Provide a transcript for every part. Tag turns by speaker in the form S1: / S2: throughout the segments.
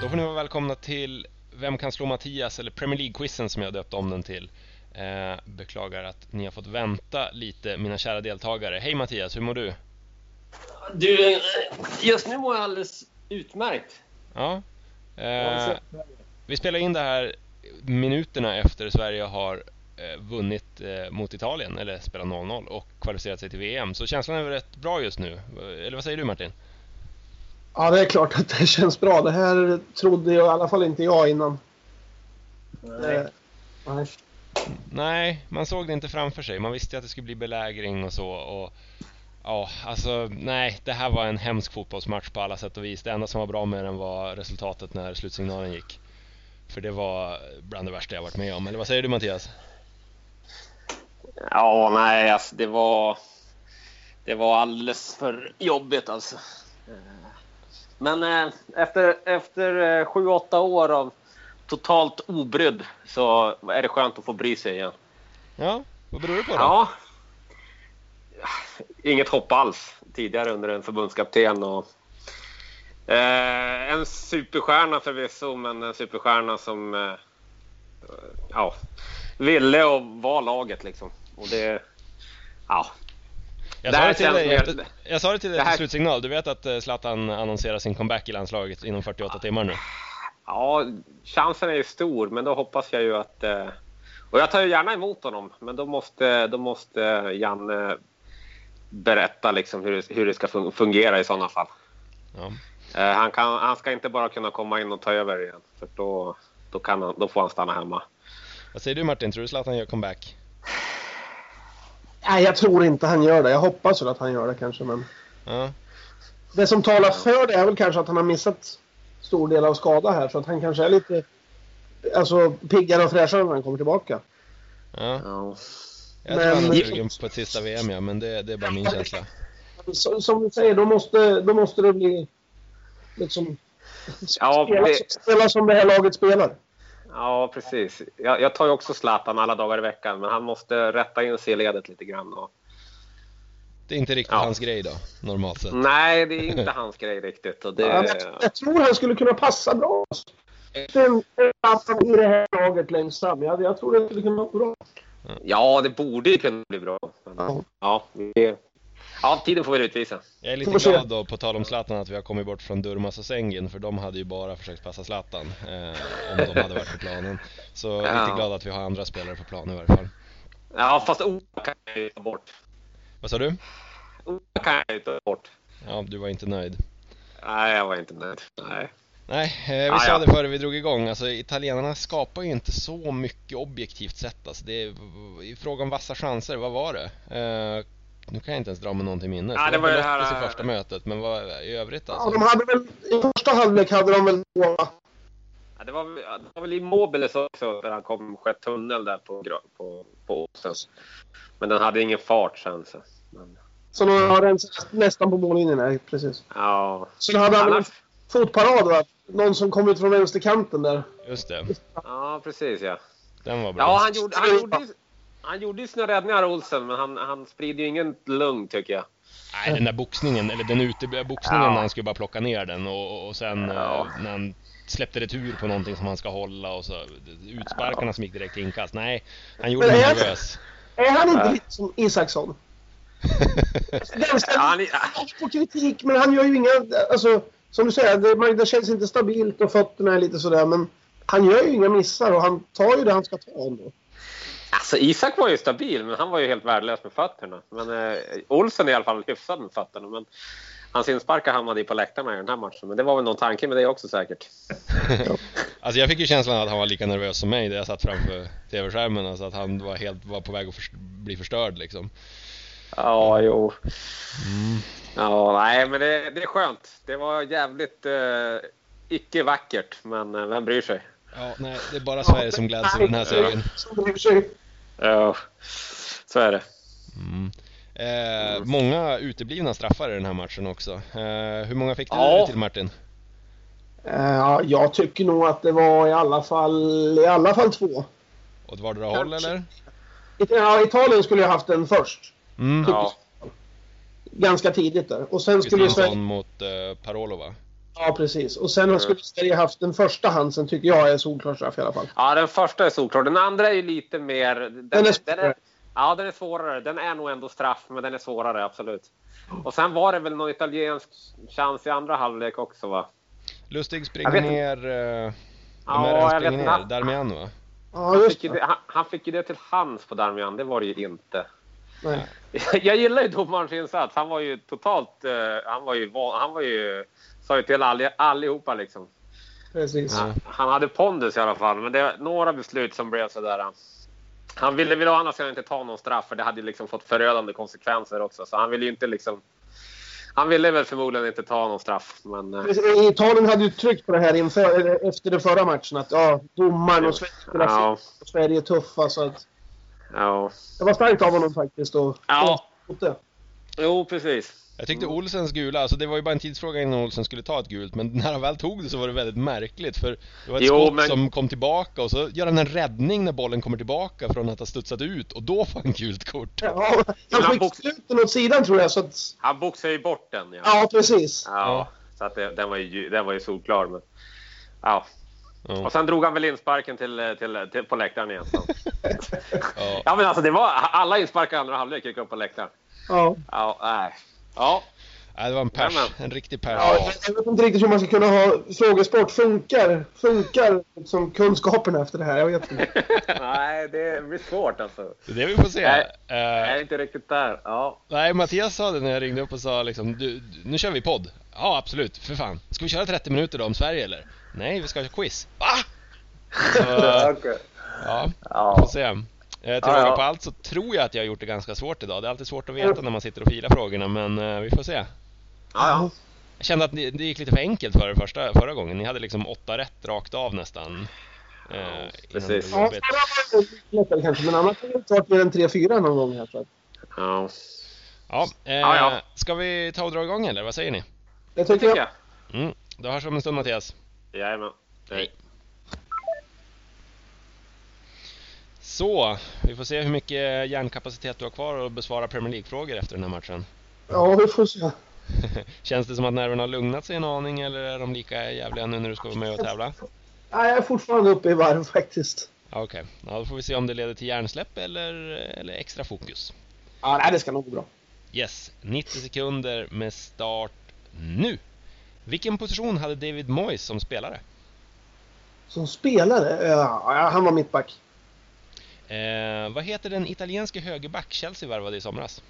S1: Då får ni vara välkomna till Vem kan slå Mattias? eller Premier League-quizen som jag döpt om den till. Eh, beklagar att ni har fått vänta lite, mina kära deltagare. Hej Mattias, hur mår du?
S2: Du, eh, just nu mår jag alldeles utmärkt.
S1: Ja. Eh, vi spelar in det här minuterna efter Sverige har eh, vunnit eh, mot Italien, eller spelat 0-0 och kvalificerat sig till VM. Så känslan är väl rätt bra just nu? Eh, Eller vad säger du Martin?
S3: Ja, det är klart att det känns bra. Det här trodde jag, i alla fall inte jag innan. Eh, nej.
S1: Nej, man såg det inte framför sig. Man visste ju att det skulle bli belägring och så. Och, ja, alltså nej, det här var en hemsk fotbollsmatch på alla sätt och vis. Det enda som var bra med den var resultatet när slutsignalen gick. För det var bland det värsta jag varit med om. Eller vad säger du Mattias?
S2: Ja, nej, alltså det var... Det var alldeles för jobbigt alltså. Eh, Men eh, efter, efter eh, sju, åtta år av totalt obrydd så är det skönt att få bry sig igen.
S1: Ja, vad beror det på då?
S2: Ja. Inget hopp alls tidigare under en förbundskapten. Och, eh, en superstjärna förvisso, men en superstjärna som eh, ja, ville och var laget. Liksom. Och det, ja.
S1: jag,
S2: det
S1: sa
S2: här
S1: det till
S2: känns
S1: dig
S2: mer-
S1: efter, jag sa det till dig
S2: det
S1: efter
S2: här-
S1: slutsignal. Du vet att eh, Zlatan annonserar sin comeback i landslaget inom 48 timmar nu?
S2: ja, chansen är ju stor, men då hoppas jag ju att... Eh, och jag tar ju gärna emot honom, men då måste, då måste Janne berätta liksom hur, det- hur det ska fun- fungera i sådana fall.
S1: Ja.
S2: Eh, Han, kan, han ska inte bara kunna komma in och ta över igen. För då, då, kan han, då får han stanna hemma.
S1: Vad säger du Martin? Tror du Zlatan gör comeback?
S3: nej, jag tror inte han gör det. Jag hoppas väl att han gör det kanske, men...
S1: Ja.
S3: Det som talar för det är väl kanske att han har missat stor del av skada här, så att han kanske är lite... Alltså, piggare och fräschare när han kommer tillbaka.
S1: ja.
S2: Ja.
S1: Jag tror han är
S3: Men-
S1: sugen på ett sista VM ja, men det, det är bara min känsla.
S3: Så, som du säger, då måste, då måste det bli... Liksom...
S2: Ja,
S3: spela,
S2: det-
S3: spela som det här laget spelar.
S2: precis. Jag, jag tar ju också Zlatan alla dagar i veckan, men han måste rätta in sig i ledet lite grann. Och,
S1: Det är inte riktigt
S2: Ja. Mm.
S1: hans grej då, normalt sett.
S2: nej, det är inte hans grej riktigt. Och det,
S3: Ja, men jag, tr- jag tror han skulle kunna passa bra. Den i det här laget längst fram. Jag, jag tror det skulle kunna vara bra.
S2: ja, det borde ju kunna bli bra. Men,
S3: Ja.
S2: ja, det, ja, tiden får väl utvisa.
S1: Jag är
S3: Får
S1: lite
S3: se.
S1: glad då, på tal om Zlatan, att vi har kommit bort från Durmaz och Sengin för de hade ju bara försökt passa Zlatan eh, om de hade varit på planen. Så
S2: Ja.
S1: lite glad att vi har andra spelare på plan i varje fall.
S2: Ja, fast Ola kan jag ju ta bort.
S1: Vad sa du?
S2: Ola kan jag ju ta bort.
S1: Ja, du var inte nöjd.
S2: Nej, jag var inte nöjd. Nej.
S1: Nej, eh, vi
S2: Ah,
S1: sa
S2: ja.
S1: det före vi drog igång. Alltså, italienarna skapar ju inte så mycket objektivt sett. Alltså, det är, I fråga om vassa chanser, vad var det? Eh, nu kan jag inte ens dra mig någon till minnes.
S2: Ja, det var ju det här- eh,
S1: Lottis i första mötet, men vad, i övrigt
S3: Ja,
S1: alltså?
S3: de hade väl, I första halvlek hade de väl två. va?
S2: Ja, det, var, väl- ja, det var väl Immobiles också där han kom skett tunnel där på, gra- på, på Åsens. Men den hade ingen fart sen. Så. Men,
S3: Så de har rensat nästan på mållinjen. Nej, precis.
S2: ja.
S3: Så de hade han väl en
S2: Annars,
S3: fotparad va? Någon som kom ut från vänsterkanten där.
S1: Just det,
S2: ja, precis ja.
S1: den var bra.
S2: Ja, han gjorde, han gjorde, ju- han gjorde ju sina räddningar Olsen, men han, han sprider ju ingen lugn tycker jag.
S1: Nej, den där boxningen, eller den utebl- boxningen
S2: Ja.
S1: när han skulle bara plocka ner den och, och sen
S2: Ja.
S1: eh, när han släppte retur på någonting som han ska hålla och så utsparkarna som gick direkt till inkast. Nej, han gjorde
S3: Men
S1: mig
S3: är-
S1: nervös.
S3: Är han inte
S2: Nej. Eh,
S3: lite som Isaksson? Ganska
S2: Ja, han,
S3: lätt på kritik, men han gör ju inga... Alltså, som du säger, det, man- det känns inte stabilt och fötterna är lite sådär. Men han gör ju inga missar och han tar ju det han ska ta ändå.
S2: alltså, Isak var ju stabil, men han var ju helt värdelös med fötterna. Men eh, Olsen är i alla fall hyfsad med fötterna. Men hans insparkar hamnade ju på läktarna i den här matchen. Men det var väl någon tanke med det också säkert.
S1: Alltså jag fick ju känslan att han var lika nervös som mig där jag satt framför tv-skärmen. Alltså att han var helt var på väg att förs- bli förstörd liksom.
S2: Ja, jo.
S3: Mm.
S2: Ja, nej, men det, det är skönt. Det var jävligt eh, icke vackert, men eh, vem bryr sig?
S1: Ja, nej, det är bara Sverige som gläds över den här segern.
S3: Som bryr sig.
S2: Ja, så är det.
S1: Mm. Eh, många uteblivna straffar i den här matchen också. Eh, hur många fick du
S2: Ja.
S1: till Martin?
S3: Eh, Ja, jag tycker nog att det var i alla fall, i alla fall två.
S1: Åt vardera håll
S3: Kanske.
S1: eller?
S3: It- Ja, Italien skulle jag haft den först.
S1: Mm.
S2: Ja,
S3: Ganska tidigt där. Och sen skulle ju
S1: Kristiansson
S3: Sverige...
S1: mot eh, Parolo va?
S3: Ja, precis. Och sen har skulle Sverige haft den första Hansen, tycker jag är solklar straff i alla fall.
S2: Ja, den första är solklar. Den andra är ju lite mer... Den,
S3: Den är
S2: den
S3: svårare.
S2: Ja, den är svårare. Den är nog ändå straff, men den är svårare, absolut. Och sen var det väl någon italiensk chans i andra halvlek också, va?
S1: Lustig
S2: Jag
S1: springer
S2: vet inte.
S1: ner... eh, De
S2: Ja,
S1: här
S2: jag
S1: han springer
S2: vet
S1: ner,
S2: inte.
S1: Darmian va?
S3: Ja,
S2: Han
S3: just
S2: fick, ju
S3: det.
S2: det, han, han fick ju det till hands på Darmian, det var det ju inte.
S3: Nej.
S2: Jag gillar ju domarens insats. Han var ju totalt... eh, han var ju... van- Han var ju sa ju till all, allihopa liksom.
S3: Precis.
S1: Ja.
S2: Han hade pondus i alla fall, men det var några beslut som blev sådär. Han ville väl å andra sidan inte ta någon straff för det hade ju liksom fått förödande konsekvenser också. Så han ville ju inte liksom... Han ville väl förmodligen inte ta någon straff, men... eh,
S3: Precis. Italien hade ju tryckt på det här inför, eller efter den förra matchen att ja, domaren och Sverige skulle ha
S2: Ja,
S3: sitt och Sverige är tuffa så att
S2: ja.
S3: det var starkt av honom faktiskt. Och,
S2: Ja.
S3: och, det.
S2: Jo, precis.
S1: Jag tyckte Olsens gula, alltså det var ju bara en tidsfråga innan Olsen skulle ta ett gult men när han väl tog det så var det väldigt märkligt för det var ett
S2: Jo,
S1: skott
S2: men-
S1: som kom tillbaka och så gör han en räddning när bollen kommer tillbaka från att ha studsat ut och då får han gult kort.
S3: Ja, han
S2: Ibland
S3: skickade
S2: box-
S3: ut den åt sidan tror jag så att,
S2: Han boxade ju bort den. Ja.
S3: ja precis.
S2: Ja, så att det, den, var ju, den var ju solklar. Men, ja.
S1: Ja.
S2: Och sen drog han väl insparken till, till, till, på läktaren igen. Så.
S1: Ja.
S2: Ja, men alltså, det var, alla insparkar i andra halvlek gick upp på läktaren.
S3: Ja.
S2: Ja, nej. Ja,
S1: Nej, det var en pers,
S2: Jajamän.
S1: en riktig pers.
S3: Ja, jag vet inte riktigt hur man ska kunna ha frågesport. Funkar, funkar liksom kunskaperna efter det här? Jag vet inte.
S2: nej, det blir svårt alltså.
S1: Det är det vi får se.
S2: Nej.
S1: Eh,
S2: Jag är inte riktigt där. Ja,
S1: Nej, Mattias sa det när jag ringde upp och sa liksom, du, du, nu kör vi podd. Ja, absolut, för fan. Ska vi köra 30 minuter då om Sverige eller? Nej, vi ska ha quiz. Va? Så,
S2: Okej.
S1: ja, vi får
S2: ja.
S1: se. Eh, Till
S2: Ja,
S1: råga
S2: ja.
S1: på allt så tror jag att jag har gjort det ganska svårt idag. Det är alltid svårt att veta när man sitter och filar frågorna, men eh, vi får se.
S2: ja,
S1: Jag kände att ni- det gick lite för enkelt för er första, förra gången. Ni hade liksom åtta rätt rakt av nästan. Eh, innan det
S2: precis.
S1: blev
S3: Ja,
S1: jobbigt.
S3: förra var det lättare kanske, men annars har det inte varit mer än 3-4 någon gång här. Så att
S2: ja.
S1: Ja, eh,
S2: Ja, ja.
S1: Ska vi ta och dra igång eller vad säger ni?
S3: jag
S2: det
S3: tycker
S2: tycker
S3: jag.
S2: jag.
S1: Mm. Då hörs vi om en stund Mattias.
S2: Jajamän. Hej.
S1: Så, vi får se hur mycket hjärnkapacitet du har kvar att besvara Premier League-frågor efter den här matchen.
S3: Ja, vi får se.
S1: Känns det som att nerverna har lugnat sig en aning eller är de lika jävliga nu när du ska vara med och tävla?
S3: Nej, jag är fortfarande uppe i varv faktiskt.
S1: Ja, Okej, ja, då får vi se om det leder till hjärnsläpp eller, eller extra fokus.
S3: Ja, nej, det ska nog gå bra.
S1: Yes, 90 sekunder med start nu! Vilken position hade David Moyes som spelare?
S3: Som spelare? Ja, han var mittback.
S1: Eh, vad heter den italienske högerback Chelsea värvade i somras?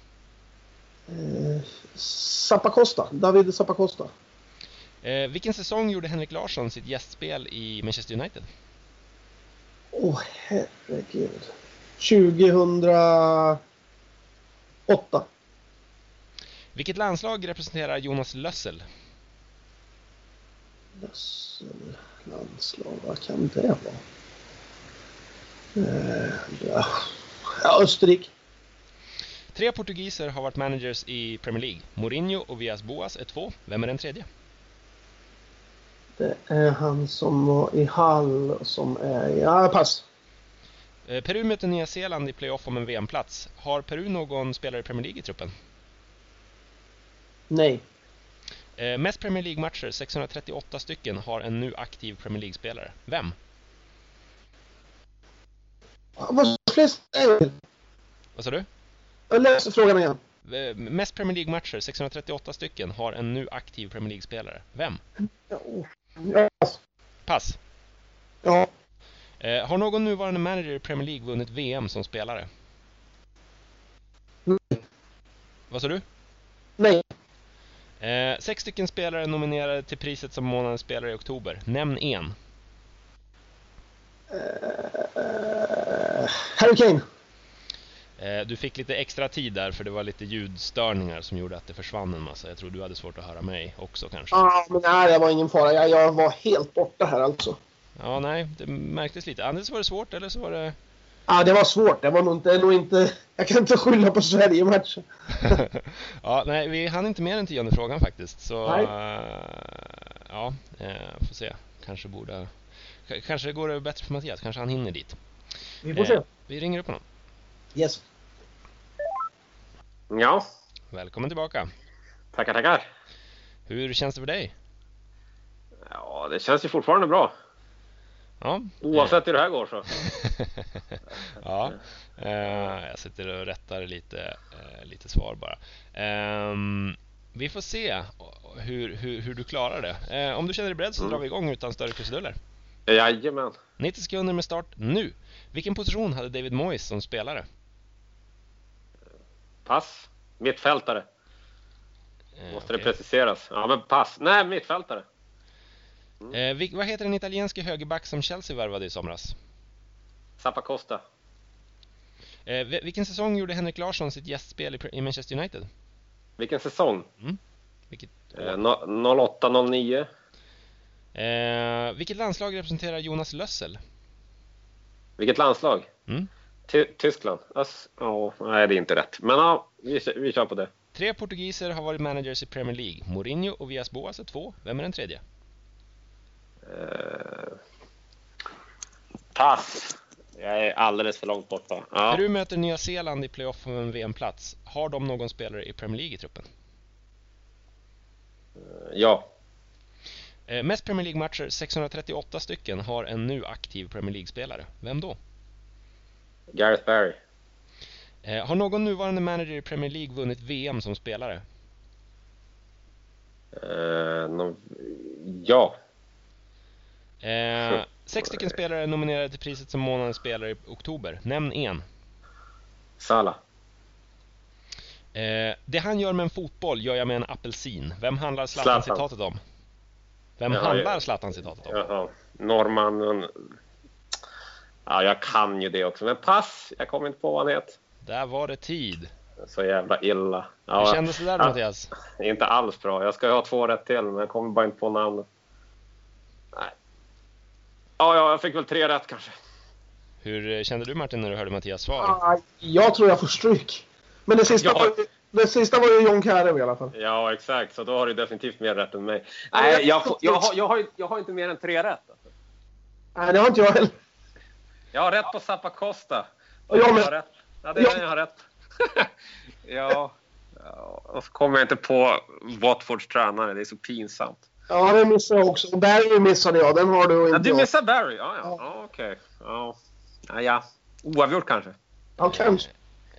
S3: Eh, Zappacosta. David Zappacosta.
S1: Eh, vilken säsong gjorde Henrik Larsson sitt gästspel i Manchester United?
S3: Åh, herregud. 2008.
S1: Vilket landslag representerar Jonas Lössel?
S3: Lössel, landslag, vad kan det vara? Eh, ja. ja, Österrike.
S1: Tre portugiser har varit managers i Premier League. Mourinho och Vias Boas är två. Vem är den tredje?
S3: Det är han som var i Hall som är... Ja, pass.
S1: Eh, Peru möter Nya Zeeland i playoff om en VM-plats. Har Peru någon spelare i Premier League i truppen?
S3: Nej.
S1: Eh, mest Premier League-matcher, 638 stycken, har en nu aktiv Premier League-spelare. Vem?
S3: Vad flest... eh,
S1: Vad sa du?
S3: Jag läser frågan igen.
S1: Eh, mest Premier League-matcher, 638 stycken, har en nu aktiv Premier League-spelare. Vem?
S3: Ja, oh. Ja, pass.
S1: Pass.
S3: ja.
S1: Eh, har någon nuvarande manager i Premier League vunnit VM som spelare? Vad sa du?
S3: nej.
S1: Eh, sex stycken spelare nominerade till priset som månadens spelare i oktober. Nämn en.
S3: Eh, Harry Kane.
S1: Eh, du fick lite extra tid där för det var lite ljudstörningar som gjorde att det försvann en massa. Jag tror du hade svårt att höra mig också kanske.
S3: Ja, men nej, det var ingen fara. Jag, jag var helt borta här alltså.
S1: Ja, nej, det märktes lite. Antingen så var det svårt eller så var det...
S3: Ja, det var svårt. Det var nog inte... Nog inte jag kan inte skylla på Sverige-matchen.
S1: ja, nej, vi hann inte med den tionde frågan faktiskt. Så,
S3: Nej.
S1: eh, ja, eh, får se. Kanske borde... K- kanske går det bättre för Mattias. Kanske han hinner dit.
S3: Vi får se.
S1: Eh, vi ringer upp honom.
S3: Yes.
S2: Ja,
S1: Välkommen tillbaka.
S2: tackar, tackar.
S1: Hur känns det för dig?
S2: Ja, det känns ju fortfarande bra.
S1: Ja.
S2: Oavsett hur det här går så.
S1: ja. Eh, jag sitter och rättar lite, eh, lite svar bara. Ehm, vi får se hur, hur, hur du klarar det. Eh, om du känner dig beredd så
S2: Mm.
S1: drar vi igång utan större krusiduller.
S2: Jajamän.
S1: 90 sekunder med start nu. Vilken position hade David Moyes som spelare?
S2: Pass. Mittfältare.
S1: Eh,
S2: Måste det
S1: okej.
S2: preciseras? Ja, men pass. Nej, mittfältare.
S1: Eh, vil- vad heter den italienske högerback som Chelsea värvade i somras?
S2: Zappa Costa.
S1: Eh, vi- vilken säsong gjorde Henrik Larsson sitt gästspel i, Pre- i Manchester United?
S2: Vilken säsong?
S1: Mm. Vilket,
S2: Eh, no- 08-09.
S1: eh, vilket landslag representerar Jonas Lössel?
S2: Vilket landslag?
S1: Mm.
S2: Ty- Tyskland? Ös- ja, nej, det är inte rätt. Men ja, vi, kö- vi kör på det.
S1: Tre portugiser har varit managers i Premier League. Mourinho och Vias Boas är två. Vem är den tredje?
S2: Eh, pass. Jag är alldeles för långt borta. Ja.
S1: Peru möter Nya Zeeland i playoff om en VM-plats. Har de någon spelare i Premier League i truppen?
S2: ja.
S1: Eh, mest Premier League-matcher, 638 stycken, har en nu aktiv Premier League-spelare. Vem då?
S2: Gareth Barry.
S1: Eh, har någon nuvarande manager i Premier League vunnit VM som spelare?
S2: Eh, no, ja.
S1: Eh, sex stycken spelare är nominerade till priset som månadens spelare i oktober. Nämn en.
S2: Salah.
S1: Eh, det han gör med en fotboll gör jag med en apelsin. Vem handlar Zlatan-citatet om? Vem
S2: Jaha,
S1: handlar
S2: jag-
S1: Zlatan-citatet om?
S2: Jaha. Norrmannen. Ja, jag kan ju det också. Men pass. Jag kommer inte på vad han heter.
S1: Där var det tid.
S2: Så jävla illa.
S1: Hur
S2: Ja,
S1: kändes det där
S2: Ja.
S1: Mattias?
S2: inte alls bra. Jag ska ju ha två rätt till, men jag kommer bara inte på namnet. Nej. Ja, ja, jag fick väl tre rätt kanske.
S1: Hur eh, kände du Martin när du hörde Mattias svar?
S3: Ah, jag tror jag får stryk. Men det sista,
S2: Ja.
S3: var, ju- det sista var ju John Carew i alla fall.
S2: Ja, exakt. Så då har du definitivt mer rätt än mig. Nej, jag, får- jag, har, jag, har, jag har inte mer än tre rätt. alltså.
S3: Nej, det har inte jag heller.
S2: Jag har rätt på Zappa Costa.
S3: Ja, men-
S2: Jag har rätt. Ja, det är den jag har rätt. ja. ja. Och så kommer jag inte på Watfords tränare. Det är så pinsamt.
S3: Ja, det missade jag också. Och Barry missade jag. Den har du och
S2: Ja,
S3: inte
S2: du
S3: jag.
S2: missar Barry. Ja, ja.
S3: Ja.
S2: ja okej. Ja. Ja, ja. Oavgjort kanske.
S3: Ja, kanske.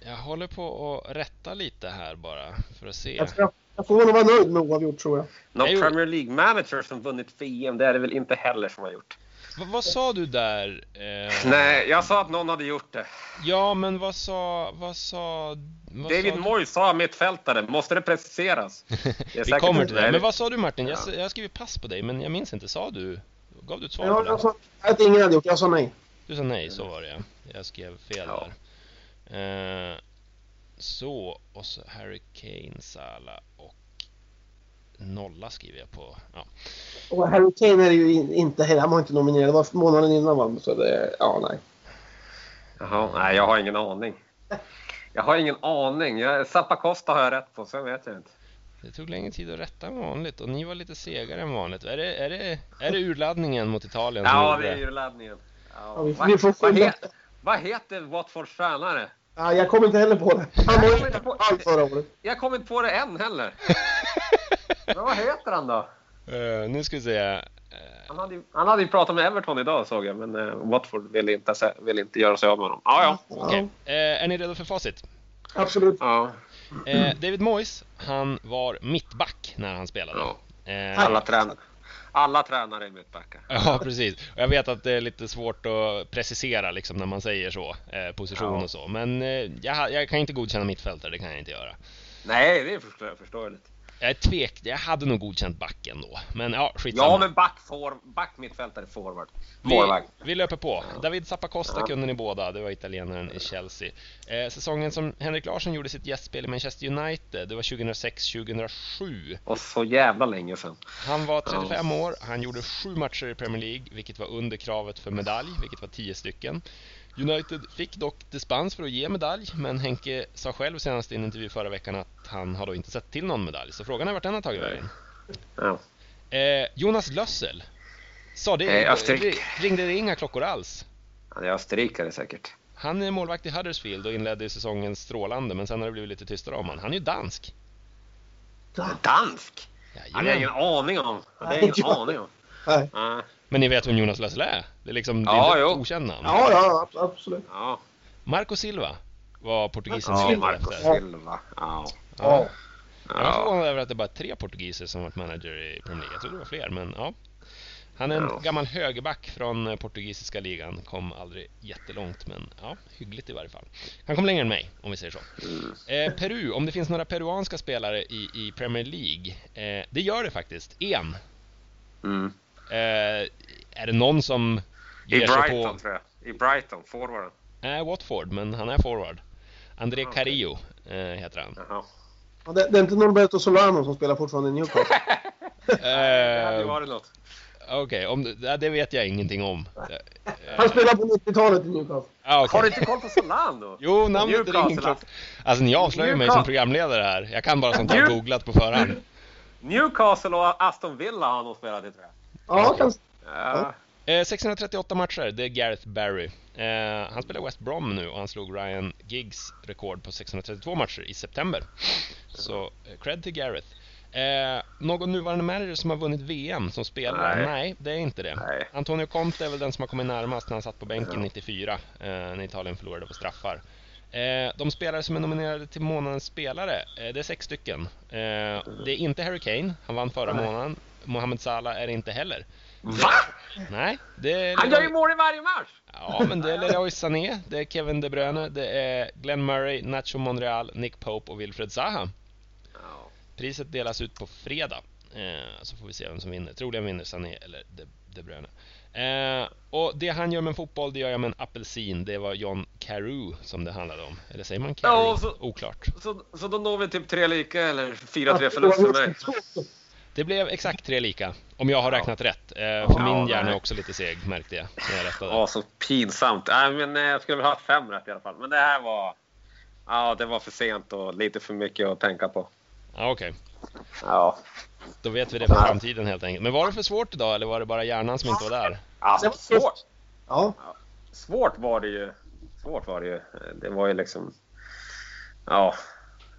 S1: Jag håller på att rätta lite här bara för att se.
S3: Jag, tror jag, jag får nog vara nöjd med oavgjort, tror jag.
S2: Någon
S1: Jag gjorde-
S2: Premier League-manager som vunnit VM, det är det väl inte heller som har gjort.
S1: Va, vad sa du där? Eh,
S2: Nej, jag sa att någon hade gjort det.
S1: ja, men vad sa... Vad sa... Vad sa
S2: David
S1: du?
S2: Moyes sa mittfältare. Måste det preciseras? Det är
S1: Vi
S2: säkert
S1: kommer
S2: inte
S1: till
S2: det.
S1: det. Men vad sa du Martin? Jag,
S2: Ja.
S1: s- jag har skrivit pass på dig, men jag minns inte. Sa du? Gav du ett svar på
S3: Jag, jag
S2: alltså-
S1: det?
S3: sa att ingen hade gjort Jag sa nej.
S1: Du sa nej, så var det ja. Jag skrev fel
S2: Ja.
S1: där. Eh, så, och så Harry Kane, Salah och nolla skriver jag på. Ja.
S3: Och Harry Kane är ju in- inte heller. Han var inte nominerad. Det var månaden innan, va? Så det, ja, nej.
S2: Jaha, nej, jag har ingen aning. Jag har ingen aning. Jag- Zappa Costa har jag rätt på, sen vet jag inte.
S1: Det tog längre tid att rätta än vanligt och ni var lite segare än vanligt. Är det, är det, är det urladdningen mot Italien som
S2: Ja,
S1: gjorde
S2: det är ju laddningen. Ja,
S3: Ja, vi-
S2: vad-
S3: vi får
S2: vad,
S3: skylla.
S2: heter, vad heter Watfords tränare?
S3: Ja, jag kom inte heller på det. Han var
S2: Jag
S3: ju
S2: kom inte på-
S3: all förra året.
S2: Jag kommer inte på det än heller. Men vad heter han då?
S1: Eh, nu ska vi se.
S2: Han hade, ju, han hade ju pratat med Everton idag såg jag, men eh, Watford ville inte, se- ville inte göra sig av med honom. Ja, ja.
S1: Okej. Eh, är ni redo för facit?
S3: Ja, absolut.
S2: ja,
S1: Eh, David Moyes, han var mittback när han spelade.
S2: ja.
S1: Eh,
S2: Alla, trän, alla tränare är mittbackar.
S1: Ja, precis. Och jag vet att det är lite svårt att precisera liksom, när man säger så, eh, position
S2: Ja.
S1: och så. Men eh, jag, jag kan inte godkänna mittfältare, det kan jag inte göra.
S2: Nej, det är förstå- förståeligt.
S1: Jag är tvek, jag hade nog godkänt backen då. Men ja, skitsamma.
S2: Ja, men back, for, back mittfältare, forward.
S1: Vi,
S2: Målvakt.
S1: vi löper på. David Zappacosta
S2: Ja.
S1: kunde ni båda, det var italienaren i Chelsea. Eh, säsongen som Henrik Larsson gjorde sitt gästspel i Manchester United, det var 2006-2007.
S2: Och så jävla länge sedan.
S1: Han var 35 år, han gjorde sju matcher i Premier League, vilket var under kravet för medalj, vilket var 10 stycken. United fick dock dispens för att ge medalj, men Henke sa själv senast i en intervju förra veckan att han har då inte sett till någon medalj, så frågan är vart den har tagit
S2: Nej.
S1: vägen.
S2: Ja.
S1: Eh, Jonas Lössel, sa det,
S2: Eh, Österrike.
S1: ringde det inga klockor alls?
S2: Han är österrikare säkert.
S1: Han är målvakt i Huddersfield och inledde ju säsongen strålande men sen har det blivit lite tystare om honom. Han är ju dansk!
S2: Dansk? Han har jag
S1: Jajamän.
S2: ingen aning om. Han har
S3: Nej,
S2: jag ingen
S3: jag-
S2: aning om.
S3: Nej.
S2: Nej.
S1: Men ni vet vem Jonas Lassell är? Det är liksom det
S2: Ja,
S1: är
S2: jo.
S1: ett okänt namn.
S3: Ja, ja, ab- absolut.
S2: Ja.
S1: Marco Silva var portugisen
S3: Marco
S1: som
S2: ja,
S1: vi var
S2: Marco
S1: efter.
S2: Silva. Ja.
S3: Ja.
S1: Jag var
S2: Ja.
S1: förvånad över att det bara är tre portugiser som varit manager i Premier League. Jag trodde det var fler, men ja. Han är en
S2: Ja.
S1: gammal högerback från eh, portugisiska ligan. Kom aldrig jättelångt, men ja, hyggligt i varje fall. Han kom längre än mig, om vi säger så.
S2: Mm.
S1: Eh, Peru, om det finns några peruanska spelare i, i Premier League? Eh, det gör det faktiskt, en.
S2: Mm.
S1: Eh, är det någon som
S2: I
S1: ger sig
S2: Brighton
S1: på...
S2: tror jag. I Brighton, forwarden.
S1: Nej, Watford, men han är forward. André
S2: Okej.
S1: Carillo eh, heter han.
S2: Jaha.
S3: Ja, Det, det är inte Norberto Solano som spelar fortfarande i Newcastle.
S2: Det hade ju
S1: Eh,
S2: varit något.
S1: Okej, om det- ja, det vet jag ingenting om. Eh,
S3: Han spelar på 90-talet i Newcastle.
S1: Ah, okej.
S2: Har du inte koll på Solano?
S1: Jo, namnet
S2: Newcastle,
S1: ringer klockan. Alltså ni avslöjar mig som
S2: Newcastle.
S1: programledare här. Jag kan bara sånt här
S2: New-
S1: googlat på förhand.
S2: Newcastle och Aston Villa har nog spelat i tror jag.
S3: Ja, kan,
S2: Ja.
S1: Eh, 638 matcher, det är Gareth Barry. Eh, han spelar West Brom nu och han slog Ryan Giggs rekord på 632 matcher i september. Så eh, cred till Gareth. Eh, någon nuvarande manager som har vunnit VM som spelare? Nej,
S2: Nej.
S1: det är inte det.
S2: Nej.
S1: Antonio Conte är väl den som har kommit närmast när han satt på bänken
S2: Ja.
S1: 94 eh, när Italien förlorade på straffar. Eh, de spelare som är nominerade till månadens spelare, eh, det är sex stycken. Eh, det är inte Harry Kane, han vann förra
S3: Nej.
S1: månaden. Mohamed Salah är det inte heller.
S2: Va?
S1: Nej, det är
S2: Han gör ju mål i varje match!
S1: Ja, men det är Leroy Sané, det är Kevin De Bruyne, det är Glenn Murray, Nacho Monreal, Nick Pope och Wilfred Zaha.
S2: Ja.
S1: Priset delas ut på fredag, eh, så får vi se vem som vinner. Troligen vinner Sané eller De, De Bruyne. Eh, och det han gör med en fotboll, det gör jag med en apelsin. Det var John Carew som det handlade om. Eller säger man Carew?
S2: Ja, och så-
S1: Oklart.
S2: Så, så då når vi typ tre lika eller fyra tre förlust för mig.
S1: Det blev exakt tre lika, om jag har
S2: Ja.
S1: räknat rätt. Eh, för
S2: Ja,
S1: min hjärna är
S2: nej.
S1: också lite seg, märkte jag när jag rättade.
S2: Ja, så pinsamt. Nej, men eh, jag skulle väl ha fem rätt i alla fall. Men det här var... Ja, det var för sent och lite för mycket att tänka på.
S1: Ja, Okej,
S2: Ja.
S1: då vet vi det för framtiden helt enkelt. Men var det för svårt idag, eller var det bara hjärnan som inte var där?
S2: ja
S3: Det var
S2: svårt.
S3: Ja.
S2: Svårt var det ju. Svårt var det ju. Det var ju liksom... Ja.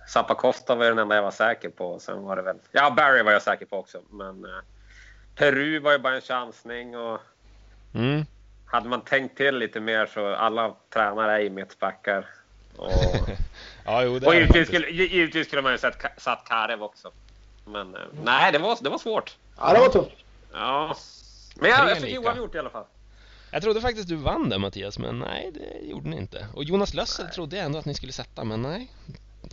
S2: Zapakofta var ju den enda jag var säker på. Sen var det väl... Ja, Barry var jag säker på också. Men eh, Peru var ju bara en chansning. Och
S1: Mm.
S2: hade man tänkt till lite mer så alla tränare är ju mittbackar. Och,
S1: Ja, jo, det
S2: och
S1: är det
S2: givetvis,
S1: faktiskt.
S2: skulle, gi- givetvis skulle man ju satt, satt Karev också. Men eh, nej, det var, det var svårt.
S3: ja, det var tufft.
S2: Ja. Men jag, jag
S1: Tre
S2: fick
S1: lika.
S2: oavgjort i alla fall.
S1: Jag trodde faktiskt du vann där Mattias, men nej det gjorde ni inte. Och Jonas Lössel trodde jag ändå att ni skulle sätta, men nej.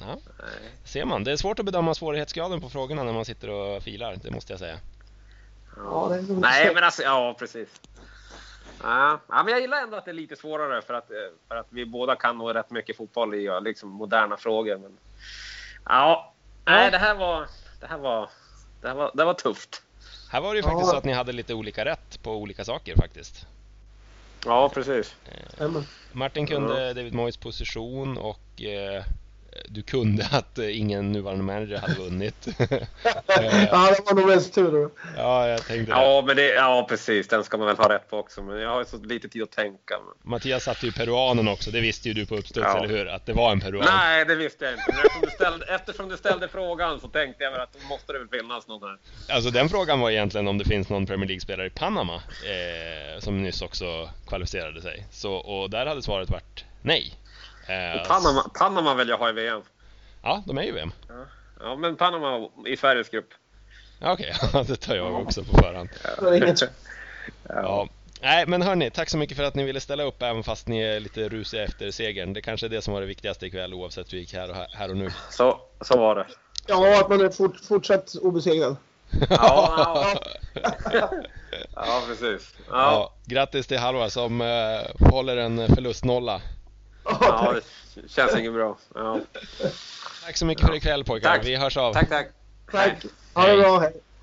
S1: Ja,
S2: Nej.
S1: ser man. Det är svårt att bedöma svårighetsgraden på frågorna när man sitter och filar, det måste jag säga.
S3: Ja, det är nog
S2: Nej,
S3: inte
S2: men alltså, ja precis. Ja, ja, men jag gillar ändå att det är lite svårare för att, eh, för att vi båda kan nog rätt mycket fotboll i ja, liksom moderna frågor. Men, ja, nej, det här var, det här var, det här var, det här var tufft.
S1: Här var det ju
S3: Ja.
S1: faktiskt så att ni hade lite olika rätt på olika saker faktiskt.
S2: Ja, precis.
S3: sämre.
S1: Martin kunde David Moyes position och eh, du kunde att eh, ingen nuvarande manager hade vunnit.
S2: Eh.
S3: Ja, det var nog mest tur. då.
S1: ja, jag tänkte det.
S2: Ja, men det, ja, precis. Den ska man väl ha rätt på också. Men jag har ju så lite tid att tänka. Men...
S1: Mattias satte ju peruanen också, det visste ju du på uppstuds,
S2: Ja.
S1: eller hur? Att det var en peruan.
S2: Nej, det visste jag inte. Men eftersom du, ställde, eftersom du ställde frågan så tänkte jag väl att då måste det väl finnas någon här.
S1: Alltså den frågan var egentligen om det finns någon Premier League-spelare i Panama eh, som nyss också kvalificerade sig. Så, och där hade svaret varit nej. Eh,
S2: Och Panama, Panama vill jag ha i VM.
S1: Ja, de är ju VM.
S2: Ja, men Panama i Sveriges grupp.
S1: Ja, Okej, ja, det tar jag också på förhand.
S3: Det var inget
S1: Ja. Nej, men hörni, tack så mycket för att ni ville ställa upp även fast ni är lite rusiga efter segern. Det kanske är det som var det viktigaste ikväll oavsett hur det gick här och, här och nu.
S2: Så, så var det.
S3: Ja, att man är fort, fortsatt obesegrad.
S2: Ja, ja precis. Ja,
S1: Ja, grattis till Halva som eh, håller en förlustnolla.
S3: Ja,
S2: ja,
S3: tack.
S2: det känns inget bra. Ja.
S1: Tack så mycket för ikväll pojkar,
S2: Tack.
S1: vi hörs av.
S2: Tack, tack.
S3: Tack. Ha det bra. Hej.